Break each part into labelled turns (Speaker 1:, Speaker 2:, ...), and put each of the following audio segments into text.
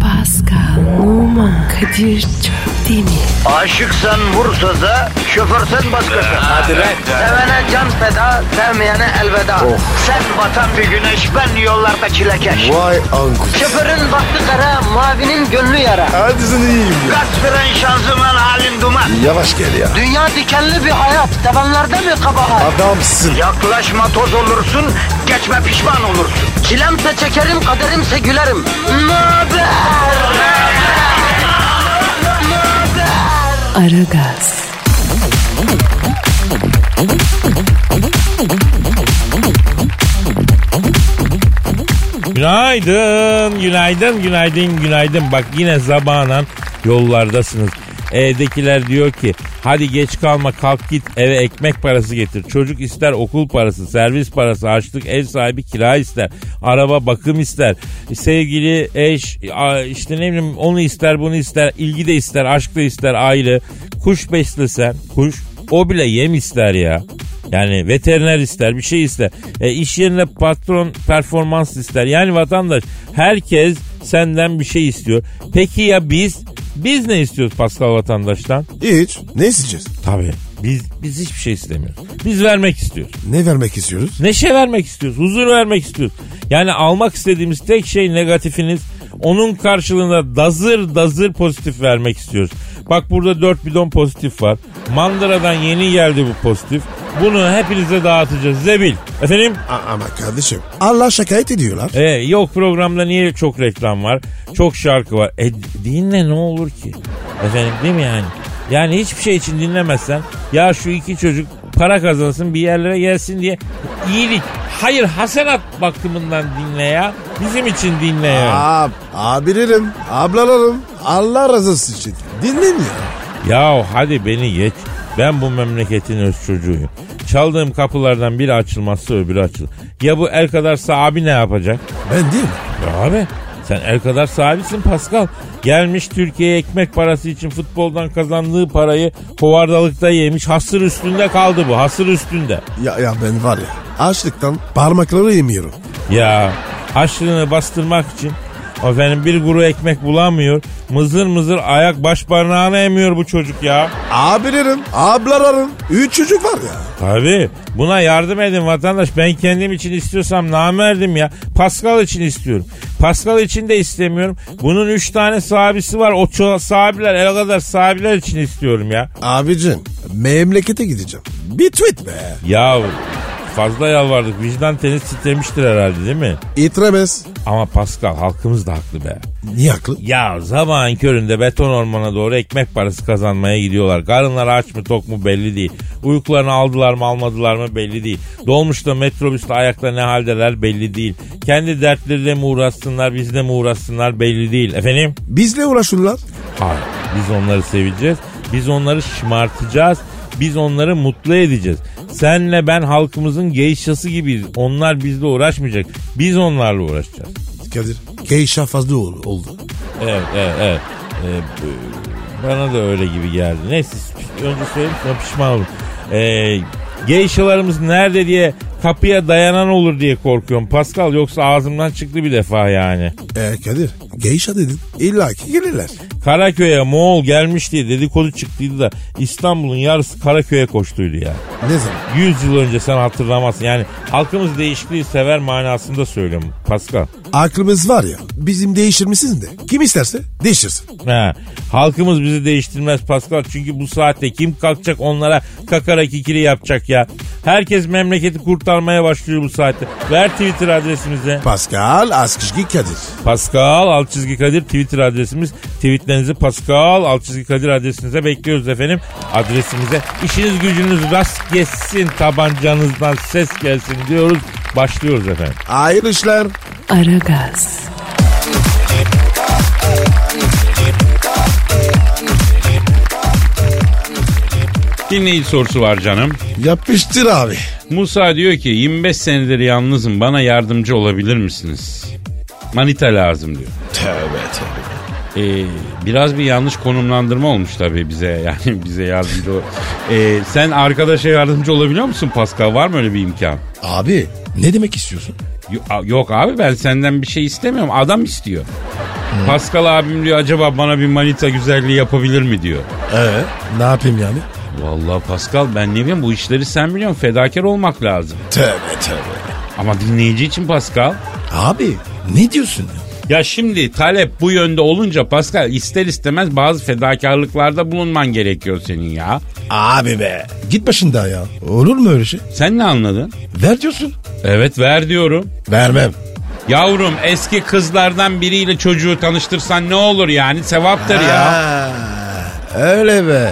Speaker 1: Pascal, Oman, Kadir çok değil mi?
Speaker 2: Aşıksan vursa da şoförsen başkasın.
Speaker 3: Hadi lan. Oh.
Speaker 2: Sevene can feda, sevmeyene elveda. Sen batan bir güneş, ben yollarda çilekeş.
Speaker 3: Vay anku.
Speaker 2: Şoförün baktı kara, mavinin gönlü yara.
Speaker 3: Hadi sen iyiyim ya.
Speaker 2: Kasperen şanzıman halin duman.
Speaker 3: Yavaş gel ya.
Speaker 2: Dünya dikenli bir hayat, sevenlerde mi kabahar?
Speaker 3: Adamsın.
Speaker 2: Yaklaşma toz olursun, geçme pişman olursun. Çilemse çekerim, kaderimse gülerim. Möber!
Speaker 1: Aragaz,
Speaker 4: Günaydın, günaydın, günaydın, günaydın. Bak yine zabanan yollardasınız. Evdekiler diyor ki hadi geç kalma kalk git eve ekmek parası getir. Çocuk ister okul parası, servis parası, açlık, ev sahibi kira ister. Araba bakım ister. Sevgili eş a- işte ne bileyim onu ister bunu ister. ilgi de ister, aşk da ister, aile. Kuş beslesen kuş o bile yem ister ya. Yani veteriner ister, bir şey ister. E, iş yerine patron performans ister. Yani vatandaş herkes senden bir şey istiyor. Peki ya biz? Biz ne istiyoruz Pascal vatandaştan?
Speaker 3: Hiç. Ne isteyeceğiz?
Speaker 4: Tabii. Biz, biz hiçbir şey istemiyoruz. Biz vermek istiyoruz.
Speaker 3: Ne vermek istiyoruz?
Speaker 4: Neşe vermek istiyoruz. Huzur vermek istiyoruz. Yani almak istediğimiz tek şey negatifiniz. Onun karşılığında dazır dazır pozitif vermek istiyoruz. Bak burada 4 bidon pozitif var. Mandıra'dan yeni geldi bu pozitif. Bunu hepinize dağıtacağız. Zebil. Efendim?
Speaker 3: A- ama kardeşim. Allah şikayet ediyorlar.
Speaker 4: E, yok programda niye çok reklam var? Çok şarkı var. E dinle ne olur ki? Efendim değil mi yani? Yani hiçbir şey için dinlemezsen ya şu iki çocuk para kazansın bir yerlere gelsin diye iyilik, hayır hasenat bakımından dinle ya. Bizim için dinle ya.
Speaker 3: Ab, abilerim, ablalarım. Allah razı olsun için. Dinleyin ya.
Speaker 4: Ya hadi beni geç. Ben bu memleketin öz çocuğuyum. Çaldığım kapılardan biri açılmazsa öbürü açılır. Ya bu el kadarsa abi ne yapacak?
Speaker 3: Ben değil mi?
Speaker 4: Ya abi sen el kadar sahibisin Pascal. Gelmiş Türkiye'ye ekmek parası için futboldan kazandığı parayı kovardalıkta yemiş. Hasır üstünde kaldı bu hasır üstünde.
Speaker 3: Ya, ya ben var ya. Açlıktan parmakları yemiyorum.
Speaker 4: Ya açlığını bastırmak için efendim bir kuru ekmek bulamıyor. Mızır mızır ayak baş parmağına emiyor bu çocuk ya.
Speaker 3: Abilerim, ablalarım. Üç çocuk var ya.
Speaker 4: Tabii buna yardım edin vatandaş. Ben kendim için istiyorsam namerdim ya. Pascal için istiyorum. Pascal için de istemiyorum. Bunun 3 tane sahibisi var. O ço- sahibiler el kadar sahibiler için istiyorum ya.
Speaker 3: Abicim, memlekete gideceğim. Bir tweet be.
Speaker 4: Ya fazla yalvardık. Vicdan teniz titremiştir herhalde değil mi?
Speaker 3: İtiremez.
Speaker 4: Ama Pascal halkımız da haklı be.
Speaker 3: Niye haklı?
Speaker 4: Ya sabahın köründe beton ormana doğru ekmek parası kazanmaya gidiyorlar. Karınları aç mı tok mu belli değil. Uykularını aldılar mı almadılar mı belli değil. Dolmuşta metrobüste ayakta ne haldeler belli değil. Kendi dertleriyle mi uğraşsınlar bizle mi uğraşsınlar belli değil. Efendim?
Speaker 3: Bizle uğraşırlar.
Speaker 4: Hayır. Biz onları seveceğiz. Biz onları şımartacağız. Biz onları mutlu edeceğiz. Senle ben halkımızın geyşası gibiyiz. Onlar bizle uğraşmayacak. Biz onlarla uğraşacağız.
Speaker 3: Kadir, geyşa fazla ol- oldu.
Speaker 4: Evet, evet, evet. Ee, b- bana da öyle gibi geldi. Neyse sp- önce söyleyeyim sonra pişman olurum. Ee, geyşalarımız nerede diye kapıya dayanan olur diye korkuyorum. Pascal yoksa ağzımdan çıktı bir defa yani.
Speaker 3: Ee, Kadir, geyşa dedin. İlla ki gelirler.
Speaker 4: Karaköy'e Moğol gelmiş diye dedikodu çıktıydı da İstanbul'un yarısı Karaköy'e koştuydu ya.
Speaker 3: Ne zaman?
Speaker 4: 100 yıl önce sen hatırlamazsın. Yani halkımız değişikliği sever manasında söylüyorum Pascal.
Speaker 3: Aklımız var ya, bizim değişir misiniz de. Kim isterse değiştirsin.
Speaker 4: Ha, halkımız bizi değiştirmez Pascal. Çünkü bu saatte kim kalkacak onlara kakara kikiri yapacak ya. Herkes memleketi kurtarmaya başlıyor bu saatte. Ver Twitter adresimizi.
Speaker 3: Pascal Askışki Kadir.
Speaker 4: Pascal alt çizgi Kadir Twitter adresimiz. Tweetlerinizi Pascal alt çizgi Kadir adresinize bekliyoruz efendim. Adresimize işiniz gücünüz rast gelsin tabancanızdan ses gelsin diyoruz. Başlıyoruz efendim.
Speaker 3: Hayırlı işler.
Speaker 1: Aragaz,
Speaker 5: Dinleyici sorusu var canım.
Speaker 3: Yapıştır abi.
Speaker 5: Musa diyor ki 25 senedir yalnızım bana yardımcı olabilir misiniz? Manita lazım diyor.
Speaker 3: Tövbe tövbe.
Speaker 4: Ee, biraz bir yanlış konumlandırma olmuş tabii bize yani bize yardımcı ol. Ee, sen arkadaşa yardımcı olabiliyor musun Pascal? Var mı öyle bir imkan?
Speaker 3: Abi ne demek istiyorsun?
Speaker 4: Yo- a- Yok abi ben senden bir şey istemiyorum. Adam istiyor. Pascal abim diyor acaba bana bir manita güzelliği yapabilir mi diyor.
Speaker 3: Ee, ne yapayım yani?
Speaker 4: Vallahi Pascal ben ne bileyim bu işleri sen biliyorsun fedakar olmak lazım.
Speaker 3: Tövbe tövbe.
Speaker 4: Ama dinleyici için Pascal.
Speaker 3: Abi ne diyorsun ya?
Speaker 4: Ya şimdi talep bu yönde olunca Pascal ister istemez bazı fedakarlıklarda bulunman gerekiyor senin ya.
Speaker 3: Abi be. Git başında ya. Olur mu öyle şey?
Speaker 4: Sen ne anladın?
Speaker 3: Ver diyorsun.
Speaker 4: Evet ver diyorum.
Speaker 3: Vermem.
Speaker 4: Yavrum eski kızlardan biriyle çocuğu tanıştırsan ne olur yani sevaptır ya.
Speaker 3: öyle be.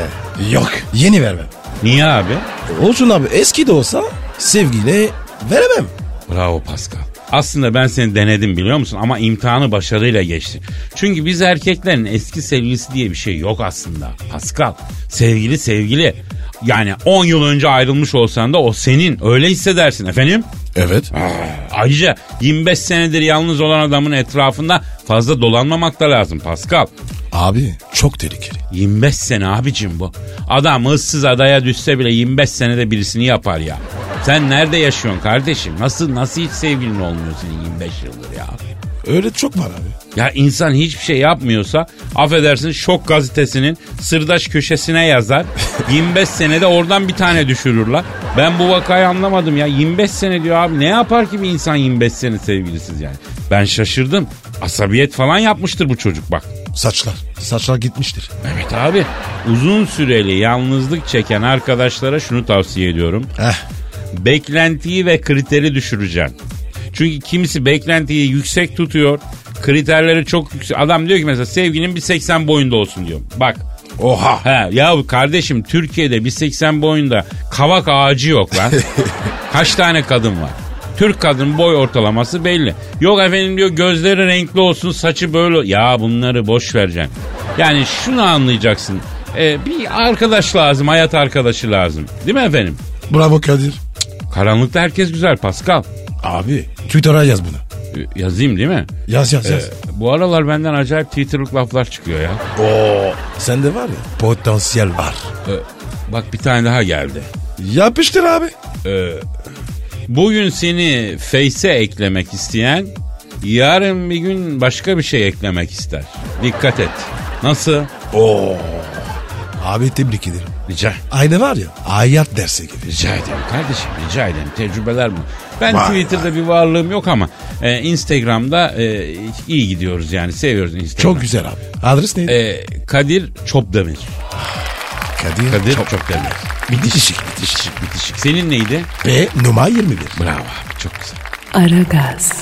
Speaker 3: Yok. Yeni vermem.
Speaker 4: Niye abi?
Speaker 3: Olsun abi eski de olsa sevgiyle veremem.
Speaker 4: Bravo Pascal. Aslında ben seni denedim biliyor musun ama imtihanı başarıyla geçtin. Çünkü biz erkeklerin eski sevgilisi diye bir şey yok aslında Pascal. Sevgili sevgili. Yani 10 yıl önce ayrılmış olsan da o senin öyle hissedersin efendim.
Speaker 3: Evet.
Speaker 4: Ayrıca 25 senedir yalnız olan adamın etrafında fazla dolanmamak da lazım Pascal.
Speaker 3: Abi çok tehlikeli.
Speaker 4: 25 sene abicim bu. Adam ıssız adaya düşse bile 25 senede birisini yapar ya. Sen nerede yaşıyorsun kardeşim? Nasıl nasıl hiç sevgilin olmuyor senin 25 yıldır ya?
Speaker 3: Öyle çok var abi.
Speaker 4: Ya insan hiçbir şey yapmıyorsa affedersin Şok gazetesinin sırdaş köşesine yazar. 25 senede oradan bir tane düşürürler. Ben bu vakayı anlamadım ya. 25 sene diyor abi ne yapar ki bir insan 25 sene sevgilisiz yani. Ben şaşırdım. Asabiyet falan yapmıştır bu çocuk bak.
Speaker 3: Saçlar. Saçlar gitmiştir.
Speaker 4: Evet abi uzun süreli yalnızlık çeken arkadaşlara şunu tavsiye ediyorum.
Speaker 3: Heh.
Speaker 4: Beklentiyi ve kriteri düşüreceksin. Çünkü kimisi beklentiyi yüksek tutuyor. Kriterleri çok yüksek. Adam diyor ki mesela sevgilin 1.80 boyunda olsun diyor. Bak.
Speaker 3: Oha.
Speaker 4: He, ya kardeşim Türkiye'de 1.80 boyunda kavak ağacı yok lan. Kaç tane kadın var? Türk kadın boy ortalaması belli. Yok efendim diyor gözleri renkli olsun saçı böyle. Ya bunları boş vereceksin. Yani şunu anlayacaksın. E, bir arkadaş lazım hayat arkadaşı lazım. Değil mi efendim?
Speaker 3: Bravo Kadir.
Speaker 4: Karanlıkta herkes güzel Pascal.
Speaker 3: Abi Twitter'a yaz bunu.
Speaker 4: E, Yazayım değil mi?
Speaker 3: Yaz yaz yaz.
Speaker 4: Bu aralar benden acayip Twitter'lık laflar çıkıyor ya.
Speaker 3: Oo. Sende var ya potansiyel var.
Speaker 4: E, bak bir tane daha geldi.
Speaker 3: Yapıştır abi.
Speaker 4: Bugün seni Face'e eklemek isteyen yarın bir gün başka bir şey eklemek ister. Dikkat et. Nasıl?
Speaker 3: Oo. Abi tebrik ederim.
Speaker 4: Rica,
Speaker 3: Aynı var ya hayat dersi gibi.
Speaker 4: rica ederim kardeşim rica ederim tecrübeler bu. Ben
Speaker 3: Vay
Speaker 4: Twitter'da bir varlığım yok ama e, Instagram'da e, iyi gidiyoruz yani seviyoruz Instagram.
Speaker 3: Çok güzel abi. Adres neydi?
Speaker 4: E, Kadir Çopdemir.
Speaker 3: Kadir.
Speaker 4: Kadir Çopdemir.
Speaker 3: Bitişik.
Speaker 4: Bitişik bitişik. Senin neydi?
Speaker 3: Ve numara 21.
Speaker 4: Bravo abi çok güzel.
Speaker 1: Aragaz,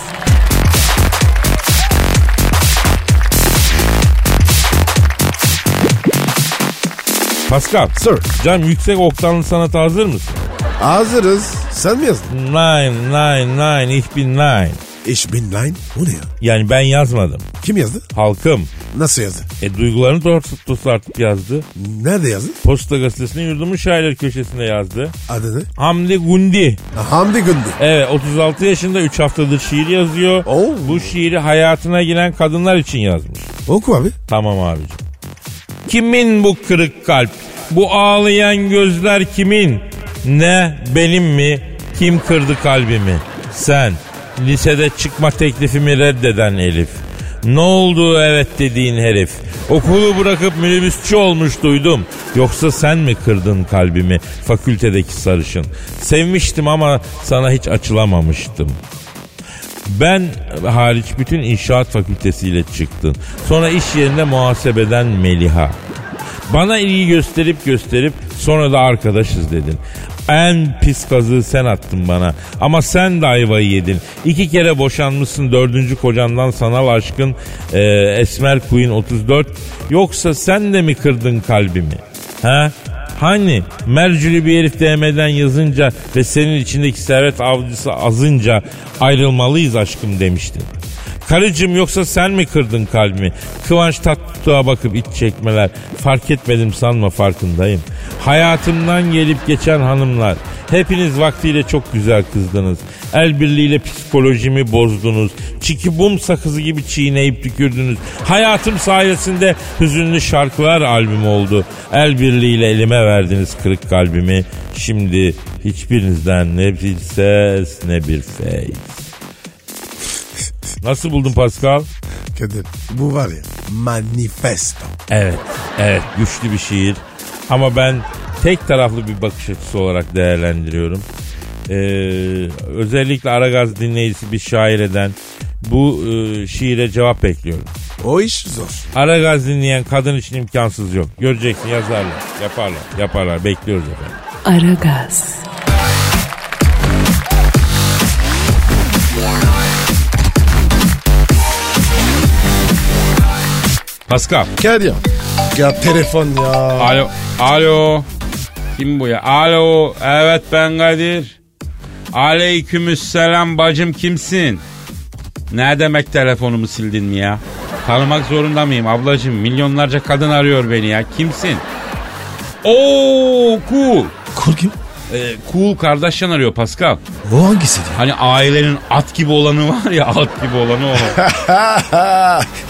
Speaker 6: Pascal.
Speaker 3: Sir.
Speaker 6: Can yüksek oktanlı sanata hazır mısın?
Speaker 3: Hazırız. Sen mi yazdın?
Speaker 6: Nine, nine, nine, ich bin nine.
Speaker 3: Ich bin line. O ne ya?
Speaker 6: Yani ben yazmadım.
Speaker 3: Kim yazdı?
Speaker 6: Halkım.
Speaker 3: Nasıl yazdı?
Speaker 6: E duygularını doğrusu tosartıp yazdı.
Speaker 3: Nerede yazdı?
Speaker 6: Posta gazetesinin yurdumun şairler köşesinde yazdı.
Speaker 3: Adı ne?
Speaker 6: Hamdi Gundi.
Speaker 3: Hamdi Gündü.
Speaker 6: Evet 36 yaşında 3 haftadır şiir yazıyor.
Speaker 3: Oo.
Speaker 6: Bu şiiri hayatına giren kadınlar için yazmış.
Speaker 3: Oku abi.
Speaker 6: Tamam abicim. Kimin bu kırık kalp? Bu ağlayan gözler kimin? Ne benim mi? Kim kırdı kalbimi? Sen. Lisede çıkma teklifimi reddeden Elif. Ne oldu evet dediğin herif? Okulu bırakıp minibüsçü olmuş duydum. Yoksa sen mi kırdın kalbimi fakültedeki sarışın? Sevmiştim ama sana hiç açılamamıştım. Ben hariç bütün inşaat fakültesiyle çıktın. Sonra iş yerinde muhasebeden Meliha. Bana ilgi gösterip gösterip sonra da arkadaşız dedin. En pis kazığı sen attın bana. Ama sen de ayvayı yedin. İki kere boşanmışsın dördüncü kocandan sanal aşkın e, Esmer Queen 34. Yoksa sen de mi kırdın kalbimi? Ha? Hani mercülü bir herif DM'den yazınca ve senin içindeki servet avcısı azınca ayrılmalıyız aşkım demiştin. Karıcığım yoksa sen mi kırdın kalbimi? Kıvanç Tatlıtuğ'a bakıp iç çekmeler. Fark etmedim sanma farkındayım. Hayatımdan gelip geçen hanımlar. Hepiniz vaktiyle çok güzel kızdınız. El birliğiyle psikolojimi bozdunuz. Çiki bum sakızı gibi çiğneyip tükürdünüz. Hayatım sayesinde hüzünlü şarkılar albümü oldu. El birliğiyle elime verdiniz kırık kalbimi. Şimdi hiçbirinizden ne bir ses ne bir fey. Nasıl buldun Pascal?
Speaker 3: Kadir bu var ya manifesto.
Speaker 6: Evet, evet güçlü bir şiir. Ama ben tek taraflı bir bakış açısı olarak değerlendiriyorum. Ee, özellikle Aragaz dinleyicisi bir şaireden bu e, şiire cevap bekliyorum.
Speaker 3: O iş zor.
Speaker 6: Aragaz dinleyen kadın için imkansız yok. Göreceksin yazarlar, yaparlar, yaparlar. Bekliyoruz efendim.
Speaker 1: Aragaz,
Speaker 6: Pascal.
Speaker 3: Kadir. Ya telefon ya.
Speaker 4: Alo. Alo. Kim bu ya? Alo. Evet ben Kadir. Aleykümselam bacım kimsin? Ne demek telefonumu sildin mi ya? Tanımak zorunda mıyım ablacığım? Milyonlarca kadın arıyor beni ya. Kimsin? Oo cool.
Speaker 3: Kul kim?
Speaker 4: Ee, cool kardeşten arıyor Pascal.
Speaker 3: O hangisi diyor?
Speaker 4: Hani ailenin at gibi olanı var ya at gibi olanı o.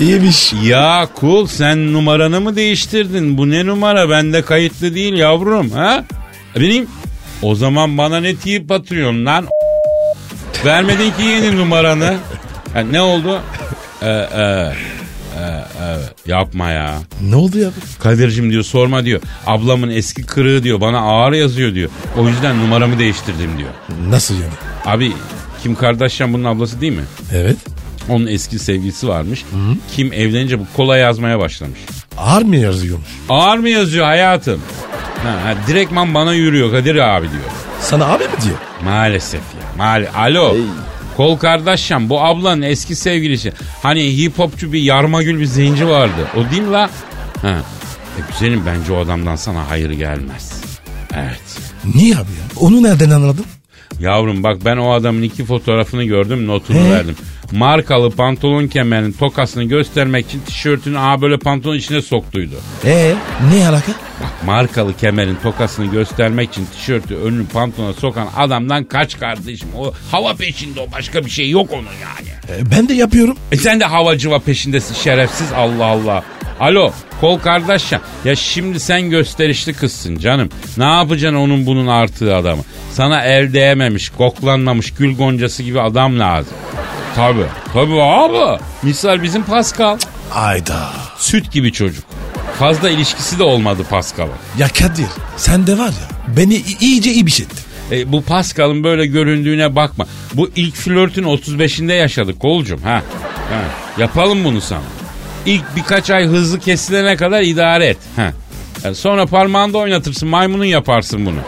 Speaker 3: İyiymiş.
Speaker 4: Ya cool sen numaranı mı değiştirdin? Bu ne numara? Bende kayıtlı değil yavrum ha? Benim o zaman bana ne tip atıyorsun lan? Vermedin ki yeni numaranı. Ha, ne oldu? Ee, e, e, e, yapma ya.
Speaker 3: Ne oldu ya?
Speaker 4: Kadir'cim diyor sorma diyor. Ablamın eski kırığı diyor bana ağır yazıyor diyor. O yüzden numaramı değiştirdim diyor.
Speaker 3: Nasıl yani?
Speaker 4: Abi Kim Kardashian bunun ablası değil mi?
Speaker 3: Evet.
Speaker 4: Onun eski sevgilisi varmış. Kim evlenince bu kola yazmaya başlamış.
Speaker 3: Ağır mı yazıyormuş?
Speaker 4: Ağır mı yazıyor hayatım? Ha, ha, direktman bana yürüyor Kadir abi diyor.
Speaker 3: Sana abi mi diyor?
Speaker 4: Maalesef ya. Maal Alo. Kol kardeşim bu ablanın eski sevgilisi. Hani hip hopçu bir yarmagül bir zenci vardı. O değil mi la? Ha. E güzelim bence o adamdan sana hayır gelmez. Evet.
Speaker 3: Niye abi ya? Onu nereden anladın?
Speaker 4: Yavrum bak ben o adamın iki fotoğrafını gördüm notunu
Speaker 3: He?
Speaker 4: verdim. Markalı pantolon kemerinin tokasını göstermek için tişörtünü a böyle pantolon içine soktuydu.
Speaker 3: Ee ne alaka?
Speaker 4: Markalı kemerin tokasını göstermek için tişörtü önünü pantolona sokan adamdan kaç kardeşim. O hava peşinde o başka bir şey yok onun yani.
Speaker 3: Ee, ben de yapıyorum.
Speaker 4: E sen de havacıva peşindesin şerefsiz Allah Allah. Alo kol kardeş ya. Ya şimdi sen gösterişli kızsın canım. Ne yapacaksın onun bunun artığı adamı? Sana el değmemiş, koklanmamış gül goncası gibi adam lazım. Tabi tabi abi. Misal bizim Pascal.
Speaker 3: Ayda.
Speaker 4: Süt gibi çocuk. Fazla ilişkisi de olmadı Pascal'ın.
Speaker 3: Ya Kadir sen de var ya beni i- iyice iyi bir şey ettin.
Speaker 4: E, bu Pascal'ın böyle göründüğüne bakma. Bu ilk flörtün 35'inde yaşadık kolcum. Ha. ha. Yapalım bunu sana. İlk birkaç ay hızlı kesilene kadar idare et. Ha. E, sonra parmağında oynatırsın maymunun yaparsın bunu.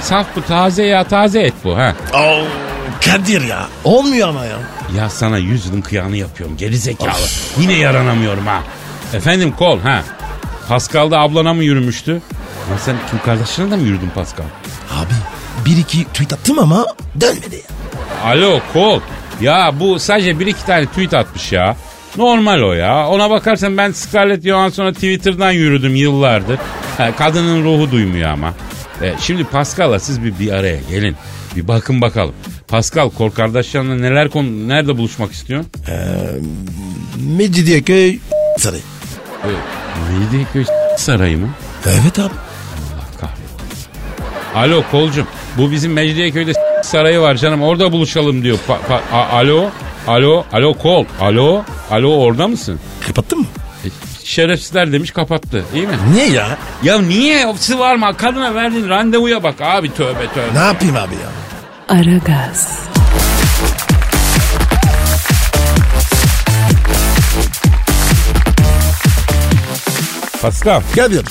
Speaker 4: Saf bu taze ya taze et bu ha.
Speaker 3: Oo, Kadir ya. Olmuyor ama ya.
Speaker 4: Ya sana yüz yılın kıyağını yapıyorum geri zekalı. Yine yaranamıyorum ha. Efendim kol ha. Pascal'da ablana mı yürümüştü? Lan sen kim kardeşine de mi yürüdün Pascal?
Speaker 3: Abi bir iki tweet attım ama dönmedi ya.
Speaker 4: Alo kol. Ya bu sadece bir iki tane tweet atmış ya. Normal o ya. Ona bakarsan ben Scarlett Johansson'a Twitter'dan yürüdüm yıllardır. Ha, kadının ruhu duymuyor ama. E, şimdi Pascal'la siz bir, bir araya gelin. Bir bakın bakalım. Pascal kol kardeşlerine neler konu nerede buluşmak istiyor?
Speaker 3: Mecidiyeköy sarayı.
Speaker 4: Mecidiyeköy sarayı mı?
Speaker 3: Evet abi.
Speaker 4: Kahretsin. Alo kolcum bu bizim Mecidiyeköy'de s- sarayı var canım orada buluşalım diyor. Pa- pa- a- alo alo alo kol alo alo orada mısın?
Speaker 3: Kapattın mı?
Speaker 4: E, Şerefsizler demiş kapattı iyi mi?
Speaker 3: Niye ya?
Speaker 4: Ya niye ofisi var mı? Kadına verdiğin randevuya bak abi tövbe tövbe.
Speaker 3: Ne yapayım abi ya?
Speaker 1: Aragaz,
Speaker 6: Pascal,
Speaker 3: Kadir.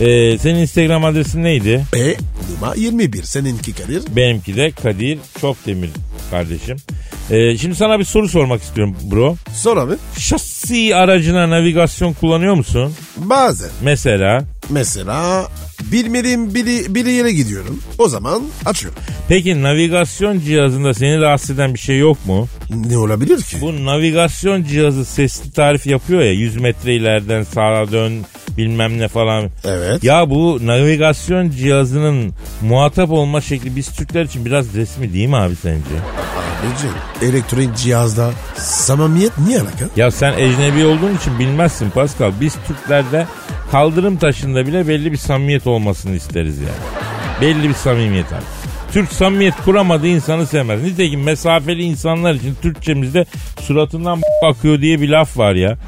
Speaker 6: e, senin Instagram adresin neydi?
Speaker 3: E numara 21 seninki Kadir.
Speaker 6: Benimki de Kadir Çopdemir kardeşim. E, şimdi sana bir soru sormak istiyorum bro.
Speaker 3: Sor abi.
Speaker 6: Şasi aracına navigasyon kullanıyor musun?
Speaker 3: Bazen.
Speaker 6: Mesela
Speaker 3: Mesela bilmediğim biri, bir yere gidiyorum. O zaman açıyorum.
Speaker 6: Peki navigasyon cihazında seni rahatsız eden bir şey yok mu?
Speaker 3: Ne olabilir ki?
Speaker 6: Bu navigasyon cihazı sesli tarif yapıyor ya 100 metre ileriden sağa dön bilmem ne falan.
Speaker 3: Evet.
Speaker 6: Ya bu navigasyon cihazının muhatap olma şekli biz Türkler için biraz resmi değil mi abi sence?
Speaker 3: Abicim elektronik cihazda samimiyet niye alaka?
Speaker 6: Ya sen ecnebi olduğun için bilmezsin Pascal. Biz Türklerde kaldırım taşında bile belli bir samimiyet olmasını isteriz yani. Belli bir samimiyet abi. Türk samimiyet kuramadığı insanı sevmez. Nitekim mesafeli insanlar için Türkçemizde suratından bakıyor diye bir laf var ya.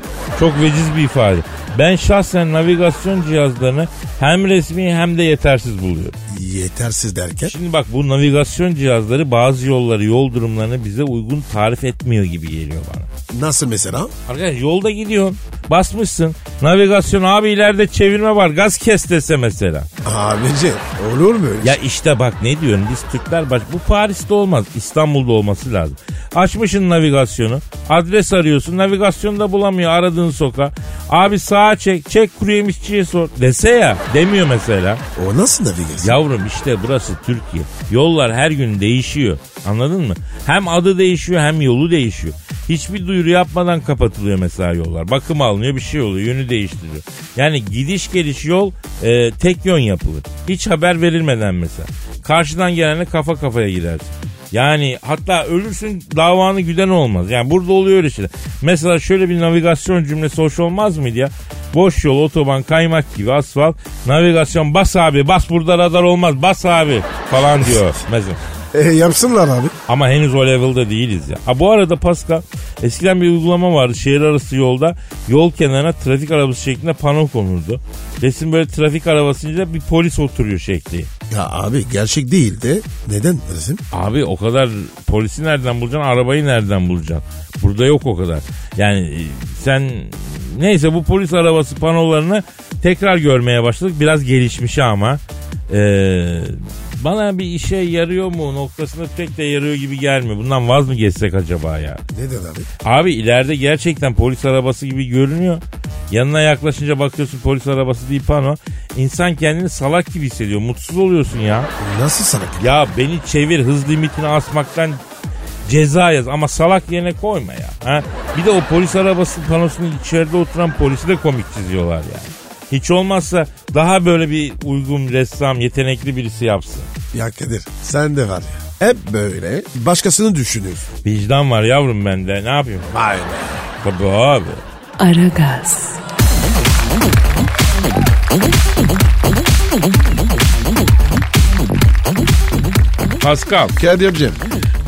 Speaker 6: Çok veciz bir ifade. Ben şahsen navigasyon cihazlarını hem resmi hem de yetersiz buluyorum.
Speaker 3: Yetersiz derken
Speaker 6: Şimdi bak bu navigasyon cihazları bazı yolları, yol durumlarını bize uygun tarif etmiyor gibi geliyor bana.
Speaker 3: nasıl mesela?
Speaker 6: Arkadaş yolda gidiyorsun. Basmışsın. Navigasyon abi ileride çevirme var. Gaz kes dese mesela.
Speaker 3: Abici olur mu öyle?
Speaker 6: Ya işte bak ne diyorum biz Türkler baş... Bu Paris'te olmaz. İstanbul'da olması lazım. Açmışsın navigasyonu. Adres arıyorsun. Navigasyonu da bulamıyor aradığın sokağa. Abi sağa çek. Çek kuru yemişçiye sor. Dese ya. Demiyor mesela.
Speaker 3: şey? O nasıl navigasyon?
Speaker 6: Yavrum işte burası Türkiye. Yollar her gün değişiyor. Anladın mı? Hem adı değişiyor hem yolu değişiyor. Hiçbir duyuru yapmadan kapatılıyor mesela yollar. Bakım alınıyor bir şey oluyor yönü değiştiriyor. Yani gidiş geliş yol e, tek yön yapılır. Hiç haber verilmeden mesela. Karşıdan gelene kafa kafaya girersin. Yani hatta ölürsün davanı güden olmaz. Yani burada oluyor öyle şeyler. Mesela şöyle bir navigasyon cümlesi hoş olmaz mıydı ya? Boş yol, otoban, kaymak gibi asfalt. Navigasyon bas abi, bas burada radar olmaz, bas abi falan diyor mesela.
Speaker 3: E, yapsınlar abi.
Speaker 6: Ama henüz o level'da değiliz ya. Ha, bu arada Pascal eskiden bir uygulama vardı şehir arası yolda. Yol kenarına trafik arabası şeklinde pano konurdu. Resim böyle trafik arabasıyla bir polis oturuyor şekli.
Speaker 3: Ya abi gerçek değildi. Neden resim?
Speaker 6: Abi o kadar polisi nereden bulacaksın, arabayı nereden bulacaksın? Burada yok o kadar. Yani e, sen neyse bu polis arabası panolarını tekrar görmeye başladık. Biraz gelişmiş ama. Ee, bana bir işe yarıyor mu noktasında pek de yarıyor gibi gelmiyor. Bundan vaz mı geçsek acaba ya?
Speaker 3: Neden abi?
Speaker 6: Abi ileride gerçekten polis arabası gibi görünüyor. Yanına yaklaşınca bakıyorsun polis arabası değil pano. İnsan kendini salak gibi hissediyor. Mutsuz oluyorsun ya.
Speaker 3: Nasıl sana?
Speaker 6: Ya beni çevir hız limitini asmaktan ceza yaz ama salak yerine koyma ya. Ha? Bir de o polis arabası panosunun içeride oturan polisi de komik çiziyorlar yani. Hiç olmazsa daha böyle bir uygun ressam, yetenekli birisi yapsın.
Speaker 3: Ya Kadir sen de var ya. Hep böyle başkasını düşünüyorsun.
Speaker 6: Vicdan var yavrum bende. Ne yapayım?
Speaker 3: Vay be.
Speaker 6: Tabii abi.
Speaker 1: Aragaz,
Speaker 4: Pascal
Speaker 3: Kadir'cim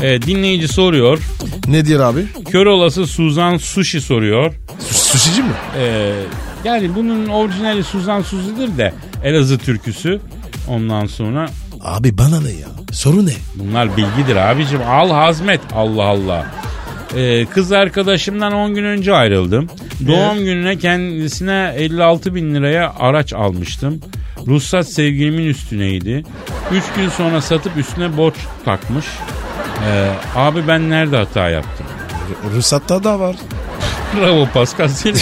Speaker 4: e, dinleyici soruyor.
Speaker 3: ne diyor abi?
Speaker 4: Kör olası Suzan Sushi soruyor.
Speaker 3: Su- Sushici mi?
Speaker 4: E, yani bunun orijinali Suzan Sushi'dir de Elazığ türküsü. Ondan sonra
Speaker 3: Abi bana ne ya? Soru ne?
Speaker 4: Bunlar bilgidir abicim. Al hazmet. Allah Allah. Ee, kız arkadaşımdan 10 gün önce ayrıldım.
Speaker 6: Ee?
Speaker 4: Doğum gününe kendisine 56 bin liraya araç almıştım. Ruhsat sevgilimin üstüneydi. 3 gün sonra satıp üstüne borç takmış. Ee, abi ben nerede hata yaptım?
Speaker 3: Ruhsatta da var.
Speaker 4: Bravo Pascal seni.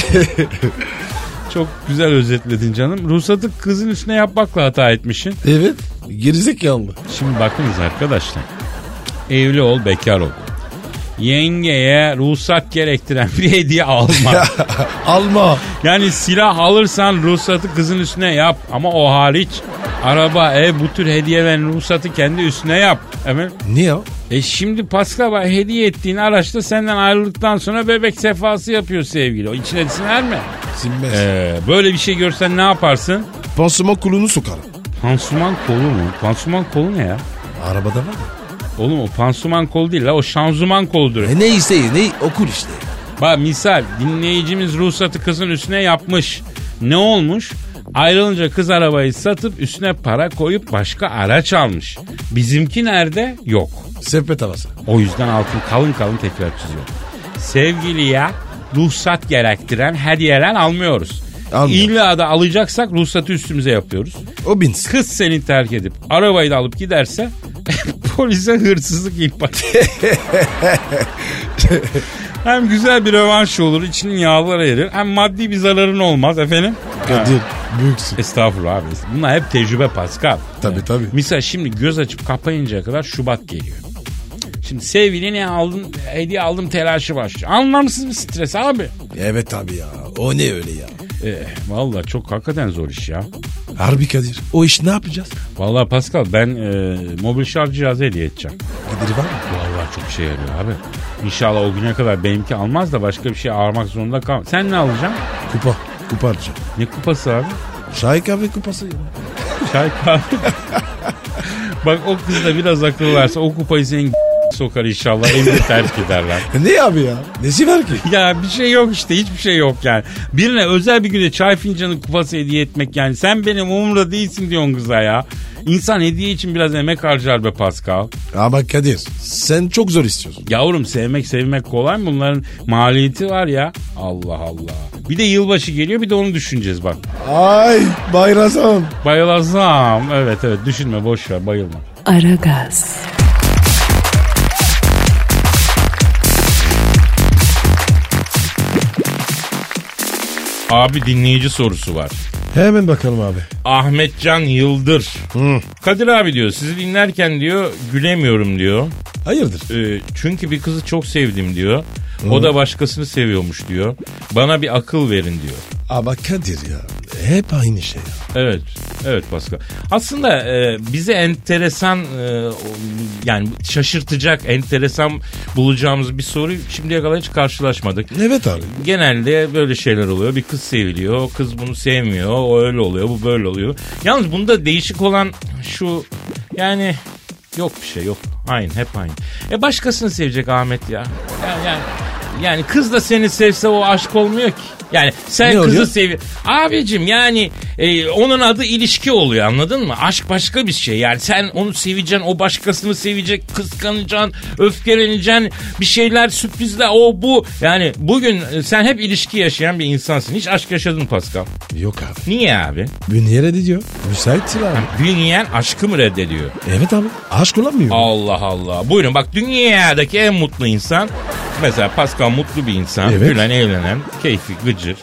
Speaker 4: Çok güzel özetledin canım. Ruhsatı kızın üstüne yapmakla hata etmişsin.
Speaker 3: Evet. Gerizekalı.
Speaker 4: Şimdi bakınız arkadaşlar. Evli ol, bekar ol. Yengeye ruhsat gerektiren bir hediye alma.
Speaker 3: Alma.
Speaker 4: yani silah alırsan ruhsatı kızın üstüne yap. Ama o hariç araba, ev bu tür hediyelerin ruhsatı kendi üstüne yap. Efendim?
Speaker 3: Niye?
Speaker 4: E şimdi Pascal bak, hediye ettiğin araçta senden ayrıldıktan sonra bebek sefası yapıyor sevgili. O içine siner mi?
Speaker 3: Sinmez.
Speaker 4: Ee, böyle bir şey görsen ne yaparsın?
Speaker 3: Pansuman kulunu sokarım.
Speaker 4: Pansuman kolu mu? Pansuman kolu ne ya?
Speaker 3: Arabada var mı?
Speaker 4: Oğlum o pansuman kol değil la o şanzuman koldur.
Speaker 3: E ne isteyiz? Ne okul işte.
Speaker 4: Bak misal dinleyicimiz ruhsatı kızın üstüne yapmış. Ne olmuş? Ayrılınca kız arabayı satıp üstüne para koyup başka araç almış. Bizimki nerede? Yok.
Speaker 3: Sepet havası.
Speaker 4: O yüzden altın kalın kalın tekrar çiziyor. Sevgiliye ruhsat gerektiren hediyeler almıyoruz.
Speaker 3: Almıyoruz.
Speaker 4: İlla da alacaksak ruhsatı üstümüze yapıyoruz.
Speaker 3: O binsin.
Speaker 4: Kız seni terk edip arabayı da alıp giderse polise hırsızlık ihbar. hem güzel bir rövanş olur, içinin yağları erir. Hem maddi bir zararın olmaz efendim. Ha.
Speaker 3: Kadir Büyüksün.
Speaker 4: Estağfurullah abi. Bunlar hep tecrübe Pascal.
Speaker 3: Tabii tabii.
Speaker 4: Misal şimdi göz açıp kapayıncaya kadar Şubat geliyor. Şimdi sevgiline aldım, hediye aldım telaşı başlıyor. Anlamsız bir stres abi.
Speaker 3: Evet abi ya. O ne öyle ya?
Speaker 4: Ee, Valla çok hakikaten zor iş ya.
Speaker 3: Harbi Kadir. O iş ne yapacağız?
Speaker 4: Valla Pascal ben e, mobil şarj cihazı hediye edeceğim.
Speaker 3: Kadir var mı?
Speaker 4: Valla çok şey yarıyor abi. İnşallah o güne kadar benimki almaz da başka bir şey almak zorunda kal. Sen ne alacaksın?
Speaker 3: Kupa. Kupa alacağım.
Speaker 4: Ne kupası abi?
Speaker 3: Şahik abi kupası.
Speaker 4: Çay kahve. Bak o kız da biraz akıl varsa o kupayı senin sokar inşallah. Emri terk ederler.
Speaker 3: E ne abi ya? Nesi var ki?
Speaker 4: Ya bir şey yok işte hiçbir şey yok yani. Birine özel bir güne çay fincanı kupası hediye etmek yani. Sen benim umurumda değilsin diyorsun kıza ya. İnsan hediye için biraz emek harcar be Pascal.
Speaker 3: Ama Kadir sen çok zor istiyorsun.
Speaker 4: Yavrum sevmek sevmek kolay mı? Bunların maliyeti var ya. Allah Allah. Bir de yılbaşı geliyor bir de onu düşüneceğiz bak.
Speaker 3: Ay bayrazan.
Speaker 4: Bayılazam. Evet evet düşünme boş ver bayılma.
Speaker 1: Aragaz,
Speaker 6: Abi dinleyici sorusu var.
Speaker 3: Hemen bakalım abi.
Speaker 6: Ahmetcan Yıldır. Kadir abi diyor sizi dinlerken diyor gülemiyorum diyor.
Speaker 3: Hayırdır?
Speaker 6: Ee, çünkü bir kızı çok sevdim diyor. O da başkasını seviyormuş diyor. Bana bir akıl verin diyor.
Speaker 3: Ama Kadir ya hep aynı şey ya.
Speaker 6: Evet, evet Pascal. Aslında e, bize enteresan e, o- yani şaşırtacak, enteresan bulacağımız bir soru şimdiye kadar hiç karşılaşmadık.
Speaker 3: Evet abi.
Speaker 6: Genelde böyle şeyler oluyor. Bir kız seviliyor, o kız bunu sevmiyor, o öyle oluyor, bu böyle oluyor. Yalnız bunda değişik olan şu yani yok bir şey yok. Aynı hep aynı. E başkasını sevecek Ahmet ya. Yani, yani, yani kız da seni sevse o aşk olmuyor ki. Yani sen
Speaker 3: Ne
Speaker 6: kızı
Speaker 3: oluyor?
Speaker 6: sevi. Abicim yani e, onun adı ilişki oluyor anladın mı? Aşk başka bir şey. Yani sen onu seveceksin, o başkasını sevecek, kıskanacaksın, öfkeleneceksin, bir şeyler sürprizle o bu. Yani bugün e, sen hep ilişki yaşayan bir insansın. Hiç aşk yaşadın mı Pascal.
Speaker 3: Yok abi.
Speaker 6: Niye abi?
Speaker 3: Bünye diyor. Müsait değil abi.
Speaker 6: Dünyen aşkı mı reddediyor?
Speaker 3: Evet abi. Aşk olamıyor.
Speaker 6: Allah Allah. Buyurun bak dünyadaki en mutlu insan. Mesela Pascal mutlu bir insan.
Speaker 3: Evet.
Speaker 6: Gülen eğlenen, keyfi gıcır.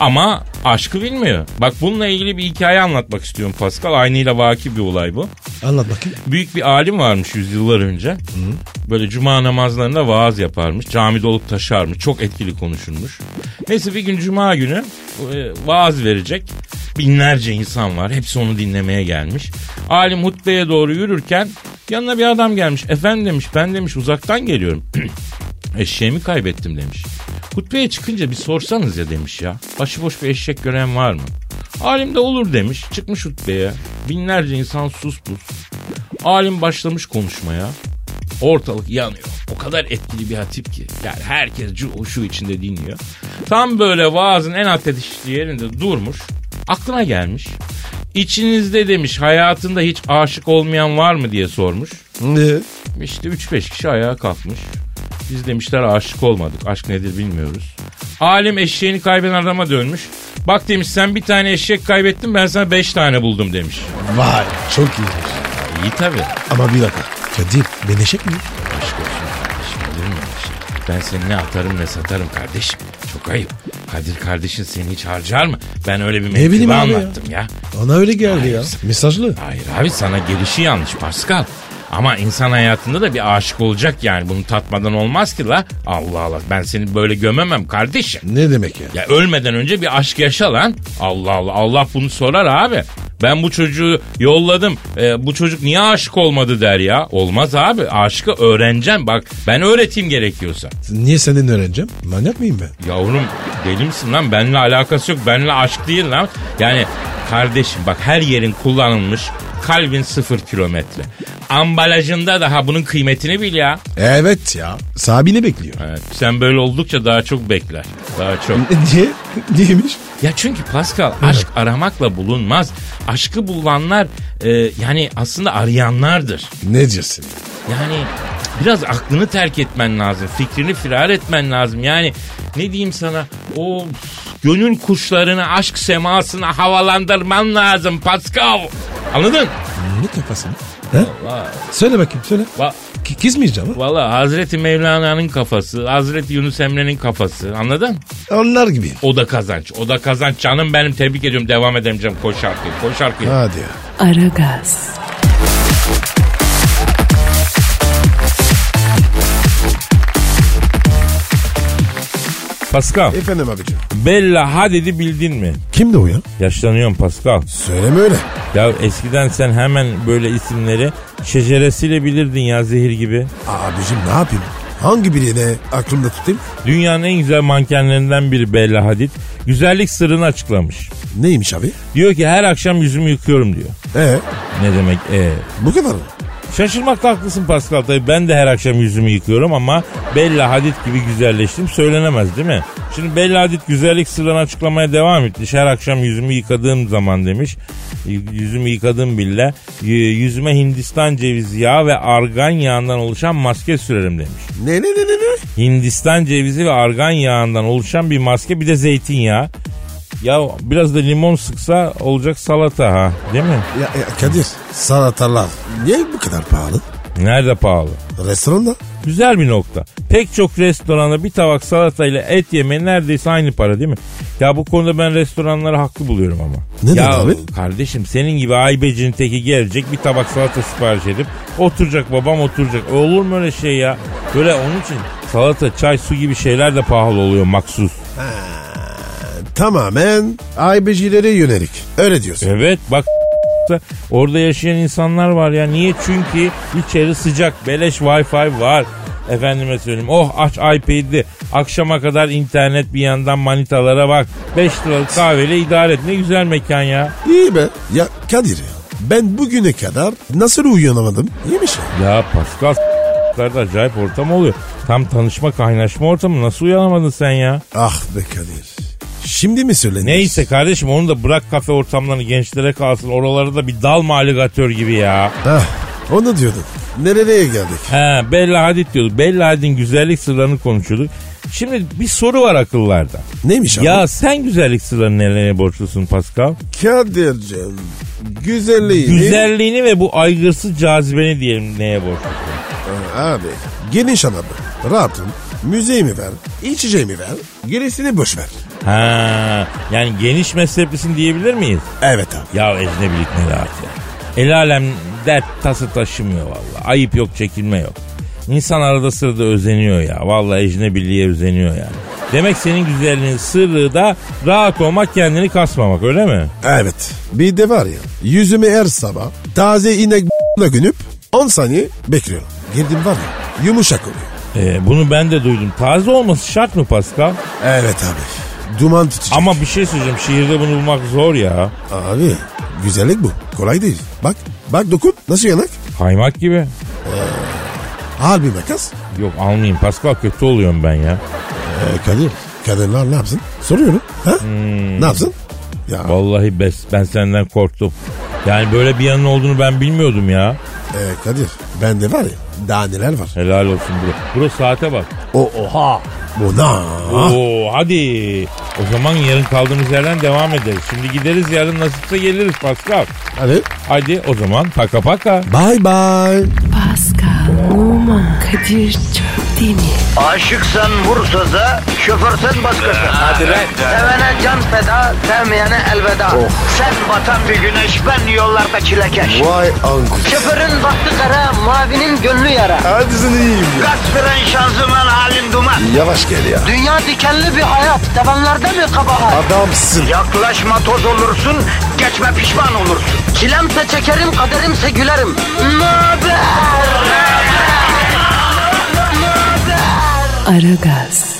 Speaker 6: Ama aşkı bilmiyor. Bak bununla ilgili bir hikaye anlatmak istiyorum Pascal. Aynıyla vaki bir olay bu.
Speaker 3: Anlat bakayım.
Speaker 6: Büyük bir alim varmış yüzyıllar önce. Böyle cuma namazlarında vaaz yaparmış. Camide olup taşarmış. Çok etkili konuşulmuş. Neyse bir gün cuma günü e, vaaz verecek. Binlerce insan var. Hepsi onu dinlemeye gelmiş. Alim hutbeye doğru yürürken yanına bir adam gelmiş. Efendim demiş ben demiş uzaktan geliyorum. Eşeğimi kaybettim demiş. Hutbeye çıkınca bir sorsanız ya demiş ya. Başıboş bir eşek gören var mı? Alim de olur demiş. Çıkmış hutbeye. Binlerce insan sus pus. Alim başlamış konuşmaya. Ortalık yanıyor. O kadar etkili bir hatip ki. Yani herkes şu içinde dinliyor. Tam böyle vaazın en ateşli yerinde durmuş. Aklına gelmiş. İçinizde demiş hayatında hiç aşık olmayan var mı diye sormuş.
Speaker 3: Ne?
Speaker 6: İşte 3-5 kişi ayağa kalkmış. Biz demişler aşık olmadık. Aşk nedir bilmiyoruz. Alim eşeğini kaybeden adama dönmüş. Bak demiş sen bir tane eşek kaybettin ben sana 5 tane buldum demiş.
Speaker 3: Vay çok iyi.
Speaker 6: İyi tabii.
Speaker 3: Ama bir dakika. Kadir şey ben eşek miyim?
Speaker 6: Aşk olsun kardeşim olur mu öyle şey? Ben seni ne atarım ne satarım kardeşim. Çok ayıp. Kadir kardeşin seni hiç harcar mı? Ben öyle bir mektubu
Speaker 3: bileyim abi ya.
Speaker 6: anlattım ya.
Speaker 3: Ona öyle geldi ya. Mesajlı.
Speaker 6: Hayır abi sana gelişi yanlış Pascal. Ama insan hayatında da bir aşık olacak yani. Bunu tatmadan olmaz ki la. Allah Allah ben seni böyle gömemem kardeşim.
Speaker 3: Ne demek ya?
Speaker 6: Ya ölmeden önce bir aşk yaşa lan. Allah Allah Allah bunu sorar abi. Ben bu çocuğu yolladım. Ee, bu çocuk niye aşık olmadı der ya. Olmaz abi. Aşkı öğreneceğim. Bak ben öğreteyim gerekiyorsa.
Speaker 3: Niye senden öğreneceğim? Manyak mıyım ben?
Speaker 6: Yavrum deli misin lan? Benimle alakası yok. Benimle aşk değil lan. Yani kardeşim bak her yerin kullanılmış. Kalbin sıfır kilometre. Ambalajında daha bunun kıymetini bil ya.
Speaker 3: Evet ya. Sabine bekliyor.
Speaker 6: Evet, sen böyle oldukça daha çok bekler. Daha çok.
Speaker 3: Niye? Neymiş?
Speaker 6: Ya çünkü Pascal aşk aramakla bulunmaz. Aşkı bulanlar e, yani aslında arayanlardır.
Speaker 3: Ne diyorsun?
Speaker 6: Yani biraz aklını terk etmen lazım. Fikrini firar etmen lazım. Yani ne diyeyim sana o gönül kuşlarını aşk semasına havalandırman lazım Pascal. Anladın?
Speaker 3: Ne kafası? Söyle bakayım söyle.
Speaker 4: Va-
Speaker 3: Ki, kız mı yiyeceğim ha?
Speaker 4: Valla Hazreti Mevlana'nın kafası, Hazreti Yunus Emre'nin kafası anladın?
Speaker 3: Onlar gibi.
Speaker 4: O da kazanç, o da kazanç. Canım benim tebrik ediyorum devam edemeyeceğim koş şarkıyı, koş şarkıyı.
Speaker 3: Hadi ya.
Speaker 1: Aragaz,
Speaker 6: Pascal,
Speaker 3: Efendim abicim.
Speaker 6: Bella Hadid'i bildin mi?
Speaker 3: Kimdi o ya?
Speaker 6: Yaşlanıyorum Pascal.
Speaker 3: Söyleme öyle.
Speaker 6: Ya eskiden sen hemen böyle isimleri şeceresiyle bilirdin ya zehir gibi.
Speaker 3: Abicim ne yapayım? Hangi birini aklımda tutayım?
Speaker 6: Dünyanın en güzel mankenlerinden biri Bella Hadid. Güzellik sırrını açıklamış.
Speaker 3: Neymiş abi?
Speaker 6: Diyor ki her akşam yüzümü yıkıyorum diyor.
Speaker 3: Ee,
Speaker 6: Ne demek e?
Speaker 3: bu kadar mı?
Speaker 6: Şaşırmakta haklısın Pascal tabii ben de her akşam yüzümü yıkıyorum ama Bella Hadid gibi güzelleştim söylenemez değil mi? Şimdi Bella Hadid güzellik sırrını açıklamaya devam etmiş. Her akşam yüzümü yıkadığım zaman demiş. Y- Yüzümü yıkadım bile. Y- Yüzüme Hindistan cevizi yağı ve argan yağından oluşan maske sürerim demiş.
Speaker 3: Ne ne ne ne ne?
Speaker 6: Hindistan cevizi ve argan yağından oluşan bir maske bir de zeytinyağı. Ya biraz da limon sıksa olacak salata ha değil mi?
Speaker 3: Ya, ya Kadir sanatalar niye bu kadar pahalı?
Speaker 6: Nerede pahalı?
Speaker 3: Restoranda.
Speaker 6: Güzel bir nokta. Pek çok restoranda bir tabak salata ile et yemeği neredeyse aynı para değil mi? Ya bu konuda ben restoranları haklı buluyorum ama.
Speaker 3: Neden
Speaker 6: ya,
Speaker 3: abi?
Speaker 6: Kardeşim senin gibi aybecinin teki gelecek bir tabak salata sipariş edip oturacak babam oturacak. Olur mu öyle şey ya? Böyle onun için salata, çay, su gibi şeyler de pahalı oluyor maksus.
Speaker 3: Tamamen aybecilere yönelik. Öyle diyorsun.
Speaker 6: Evet bak da orada yaşayan insanlar var ya. Niye? Çünkü içeri sıcak. Beleş wifi var. Efendime söyleyeyim. Oh aç iPad'i. Akşama kadar internet bir yandan manitalara bak. 5 liralık kahveyle idare et. Ne güzel mekan ya.
Speaker 3: İyi be. Ya Kadir ya. Ben bugüne kadar nasıl uyanamadım? İyiymiş ya.
Speaker 6: Ya Pascal s**larda acayip ortam oluyor. Tam tanışma kaynaşma ortamı nasıl uyanamadın sen ya?
Speaker 3: Ah be Kadir. Şimdi mi söyledin?
Speaker 6: Neyse kardeşim onu da bırak kafe ortamlarını gençlere kalsın. Oralara da bir dalma aligatör gibi ya.
Speaker 3: Hah, onu diyordun. Nereye geldik?
Speaker 6: He Bella Hadid diyorduk. Bella Hadid'in güzellik sırlarını konuşuyorduk. Şimdi bir soru var akıllarda.
Speaker 3: Neymiş abi?
Speaker 6: Ya sen güzellik sırlarını nereye borçlusun Pascal?
Speaker 3: Kadir'cim güzelliği.
Speaker 6: Güzelliğini ve bu aygırsız cazibeni diyelim neye borçlusun?
Speaker 3: Ee, Abi geniş adamı. Rahatım. Müziğimi ver. içeceğimi ver. Gerisini boş ver.
Speaker 6: Ha, yani geniş mezheplisin diyebilir miyiz?
Speaker 3: Evet abi.
Speaker 6: Ya ecnebilik ne rahat ya. El alem dert tası taşımıyor valla. Ayıp yok çekinme yok. İnsan arada sırada özeniyor ya. Valla ecnebiliğe özeniyor ya. Demek senin güzelliğin sırrı da rahat olmak kendini kasmamak öyle mi?
Speaker 3: Evet. Bir de var ya yüzümü her sabah taze inek b***la günüp 10 saniye bekliyorum. Girdim var ya yumuşak oluyor.
Speaker 6: Ee, bunu ben de duydum. Taze olması şart mı Pascal?
Speaker 3: Evet abi. Duman tutucu.
Speaker 6: Ama bir şey söyleyeceğim. Şiirde bunu bulmak zor ya.
Speaker 3: Abi güzellik bu. Kolay değil. Bak bak dokun nasıl yanak?
Speaker 6: Kaymak gibi.
Speaker 3: Ağır bir makas.
Speaker 6: Yok almayayım Pascal kötü oluyorum ben ya.
Speaker 3: Ee, Kadir kadınlar ne yapsın? Soruyorum. Ha? Ne yapsın? Ya
Speaker 6: Vallahi bes, ben senden korktum. Yani böyle bir yanın olduğunu ben bilmiyordum ya.
Speaker 3: e, Kadir bende var ya daha neler var.
Speaker 6: Helal olsun bro. Bro saate bak.
Speaker 3: O oha. Bu ne?
Speaker 6: Oo hadi. O zaman yarın kaldığımız yerden devam ederiz. Şimdi gideriz yarın nasipse geliriz Pascal.
Speaker 3: Hadi
Speaker 6: Hadi o zaman paka paka.
Speaker 3: bye bye.
Speaker 1: Pascal, Oman, Kadir çok değil mi?
Speaker 2: Aşıksan vursa da, şoförsen başkasın. Hadi Sevene can feda, sevmeyene elveda. Sen batan bir güneş, ben yollarda çilekeş.
Speaker 3: Vay anku.
Speaker 2: Şoförün baktı kara, mavinin gönlü yara.
Speaker 3: Hadi sen iyiyim ya.
Speaker 2: Kasperen şanzıman halin duman.
Speaker 3: Yavaş gel ya.
Speaker 2: Dünya dikenli bir hayat, sevenlerde mi kabahar?
Speaker 3: Adamsın.
Speaker 2: Yaklaşma toz olursun, geçme pişman olursun. Çilemse çekerim, kaderimse gülerim. Möber!
Speaker 1: Aragaz.